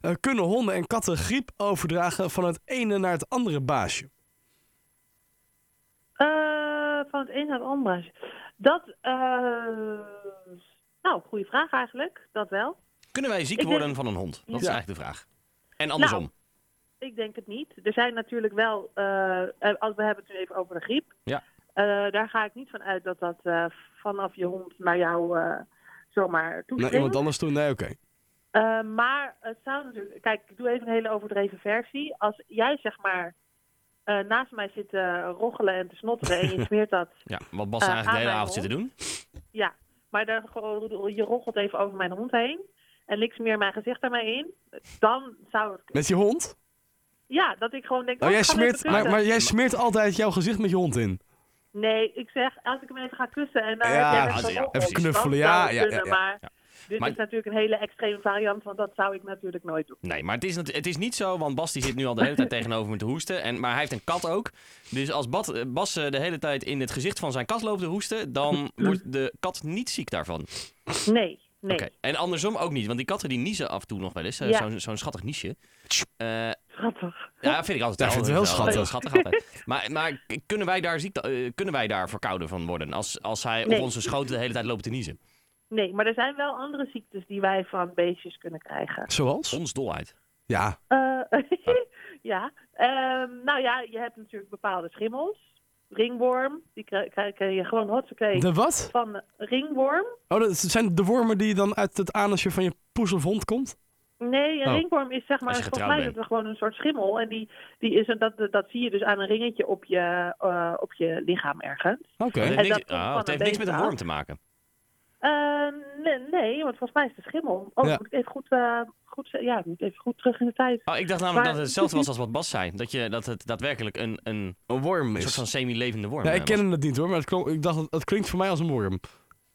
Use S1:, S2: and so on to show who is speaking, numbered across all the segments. S1: eh, kunnen honden en katten griep overdragen van het ene naar het andere baasje?
S2: Eh, van het een naar het ander. Dat, eh, nou, goede vraag eigenlijk. Dat wel.
S3: Kunnen wij ziek
S2: Ik denk-
S3: worden van een hond? Dat is
S1: Ja.
S3: eigenlijk de vraag. En andersom.
S2: Nou, Ik denk het niet. Er zijn natuurlijk wel, eh, eh, als we hebben het nu even over de griep.
S3: Ja.
S2: Eh, daar ga ik niet van uit dat dat eh, vanaf je hond naar jou eh, zomaar
S1: Naar
S2: toespringt.
S1: iemand anders toe? Nee, oké.
S2: Eh, maar het zou natuurlijk... Kijk, ik doe even een hele overdreven versie. Als jij zeg maar eh, naast mij zit te roggelen en te snotteren en je smeert dat...
S3: ja, wat Bas
S2: Eh,
S3: eigenlijk de hele
S2: aan
S3: avond zit
S2: mijn
S3: te doen.
S2: Ja, maar daar, gewoon- je roggelt even over mijn hond heen. En ik smeer mijn gezicht daarmee in. Dan zou het...
S1: Met je hond?
S2: Ja, dat ik gewoon denk...
S1: Oh, jij
S2: ik ga hem even
S1: smeert, maar,
S2: kussen.
S1: maar jij smeert altijd jouw gezicht met je hond in.
S2: Nee, ik zeg, als ik hem even ga kussen en daar
S1: Ja,
S2: heb jij
S3: als-
S2: net zo'n
S3: ja,
S2: roggel,
S1: even
S2: dan
S1: knuffelen,
S2: zou
S1: ja,
S2: het
S1: ja, ja,
S2: kunnen,
S1: ja,
S2: Maar dit
S3: Maar-
S2: is natuurlijk een hele extreme variant, want dat zou ik natuurlijk nooit doen.
S3: Nee, maar het is, nat- het is niet zo, want Bas die zit nu al de hele tijd tegenover me te hoesten. En, maar hij heeft een kat ook. Dus als Bad- eh, Bas eh, de hele tijd in het gezicht van zijn kat loopt te hoesten, dan wordt de kat niet ziek daarvan.
S2: Nee, nee.
S3: Oké. En andersom ook niet, want die katten die niezen af en toe nog wel eens. eh,
S2: Ja.
S3: Zo'n zo'n schattig niesje. Eh,
S2: Schattig.
S3: ja, vind ik altijd
S1: Ja,
S3: wel.
S1: ik vind het heel
S3: Dat is wel
S1: schattig.
S3: altijd. Maar, maar k- kunnen, wij daar ziek, eh, kunnen wij daar verkouden van worden? Als, als hij
S2: Nee.
S3: op onze schoten de hele tijd loopt te niezen.
S2: Nee, maar er zijn wel andere ziektes die wij van beestjes kunnen krijgen.
S1: Zoals?
S3: Ons dolheid.
S1: Ja.
S2: Eh, ja, ehm, nou ja, je hebt natuurlijk bepaalde schimmels. Ringworm, die kri- krijg je gewoon hotsakee
S1: De wat?
S2: van ringworm.
S1: Oh, dat zijn de wormen die dan uit het anusje van je poes of hond komt?
S2: Nee, een
S1: Oh.
S2: ringworm is zeg maar,
S3: Als je
S2: volgens
S3: getrouwd
S2: mij
S3: bent.
S2: dat we gewoon een soort schimmel. En die, die is, een- dat, dat zie je dus aan een ringetje op je, eh, op je lichaam ergens.
S1: Oké.
S3: Het heeft
S2: En
S3: niks,
S2: dat komt
S3: ah,
S2: van
S3: het heeft
S2: een
S3: niks met een
S2: beest
S3: worm
S2: af.
S3: te maken.
S2: Eh, nee, nee, want volgens mij is het een schimmel. Oh,
S1: Ja.
S2: moet ik even goed, eh, goed, ze- ja, moet ik even goed terug in de tijd.
S3: Oh, ik dacht namelijk
S2: Maar-
S3: dat het hetzelfde was als wat Bas zei. Dat, je, dat het daadwerkelijk een, een
S1: Een worm
S3: soort van
S1: is.
S3: semi-levende worm eh,
S1: Nee,
S3: is.
S1: ik ken het niet hoor, maar het klonk- ik dacht, dat- het klinkt voor mij als een worm.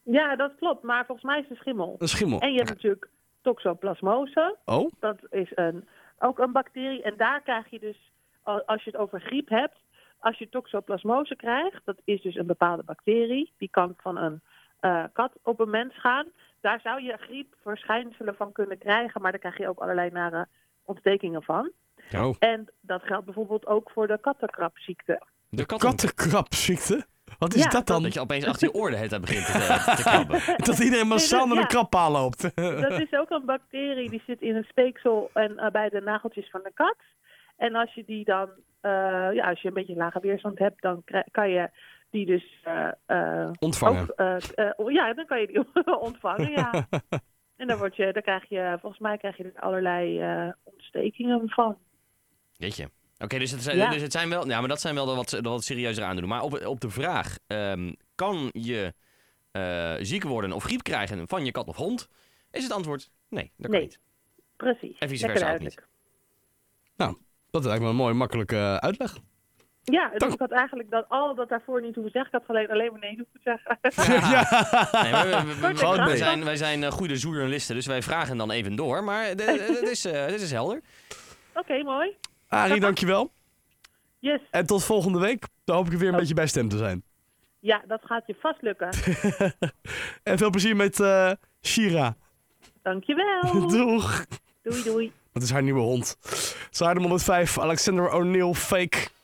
S2: Ja, dat klopt, maar volgens mij is het een schimmel.
S1: Een schimmel.
S2: En je hebt natuurlijk toxoplasmose.
S1: Oh?
S2: Dat is een, ook een bacterie. En daar krijg je dus, a- als je het over griep hebt, als je toxoplasmose krijgt, dat is dus een bepaalde bacterie. Die kan van een eh, kat op een mens gaan. Daar zou je griepverschijnselen van kunnen krijgen, maar daar krijg je ook allerlei nare ontstekingen van.
S1: Oh.
S2: En dat geldt bijvoorbeeld ook voor de kattenkrapziekte.
S3: De kat.
S1: Kattenkrapziekte? Wat is
S2: Ja,
S1: dat dan?
S3: Dat je opeens achter je oor de hele tijd begint te, eh, te krabben.
S1: Dat iedereen massaal
S2: Nee, dat-
S1: naar de krappaal loopt.
S2: Dat is ook een bacterie die zit in een speeksel en eh, bij de nageltjes van de kat. En als je die dan, eh, ja, als je een beetje een lage weerstand hebt, dan krij- kan je die dus eh, eh,
S1: Ontvangen.
S2: ook, eh, eh, oh, ja, dan kan je die ontvangen, ja. En dan, word je, dan krijg je, volgens mij krijg je er allerlei eh, ontstekingen van.
S3: Jeetje. Oké, dus, het zijn,
S2: Ja.
S3: dus het zijn wel... Ja, maar dat zijn wel de wat, de wat serieuzer aandoeningen. Maar op, op de vraag, ehm, kan je eh, ziek worden of griep krijgen van je kat of hond? Is het antwoord nee, dat kan
S2: Nee.
S3: niet.
S2: Precies.
S3: En vice
S2: Lekker
S3: versa ook niet.
S2: duidelijk.
S1: Nou, dat lijkt me een mooie, makkelijke eh, uitleg.
S2: Ja, dus
S1: Dank.
S2: ik had eigenlijk dat, al dat daarvoor niet hoeven zeggen. Ik had alleen, alleen maar nee hoeven zeggen.
S3: Nee, maar we- we- we-
S2: Wordt er
S3: wij
S2: nee.
S3: zijn, wij zijn eh, goede journalisten, dus wij vragen dan even door. Maar de- de- het is, eh, dit is helder.
S2: Oké, mooi.
S1: Arie, dankjewel.
S2: Yes.
S1: En tot volgende week. Dan hoop ik er weer een beetje bij stem te zijn.
S2: Ja, dat gaat je vast lukken.
S1: En veel plezier met eh Shira.
S2: Dankjewel.
S1: Doeg.
S2: Doei, doei.
S1: Dat is haar nieuwe hond. Zwaardem 105, Alexander O'Neill, fake.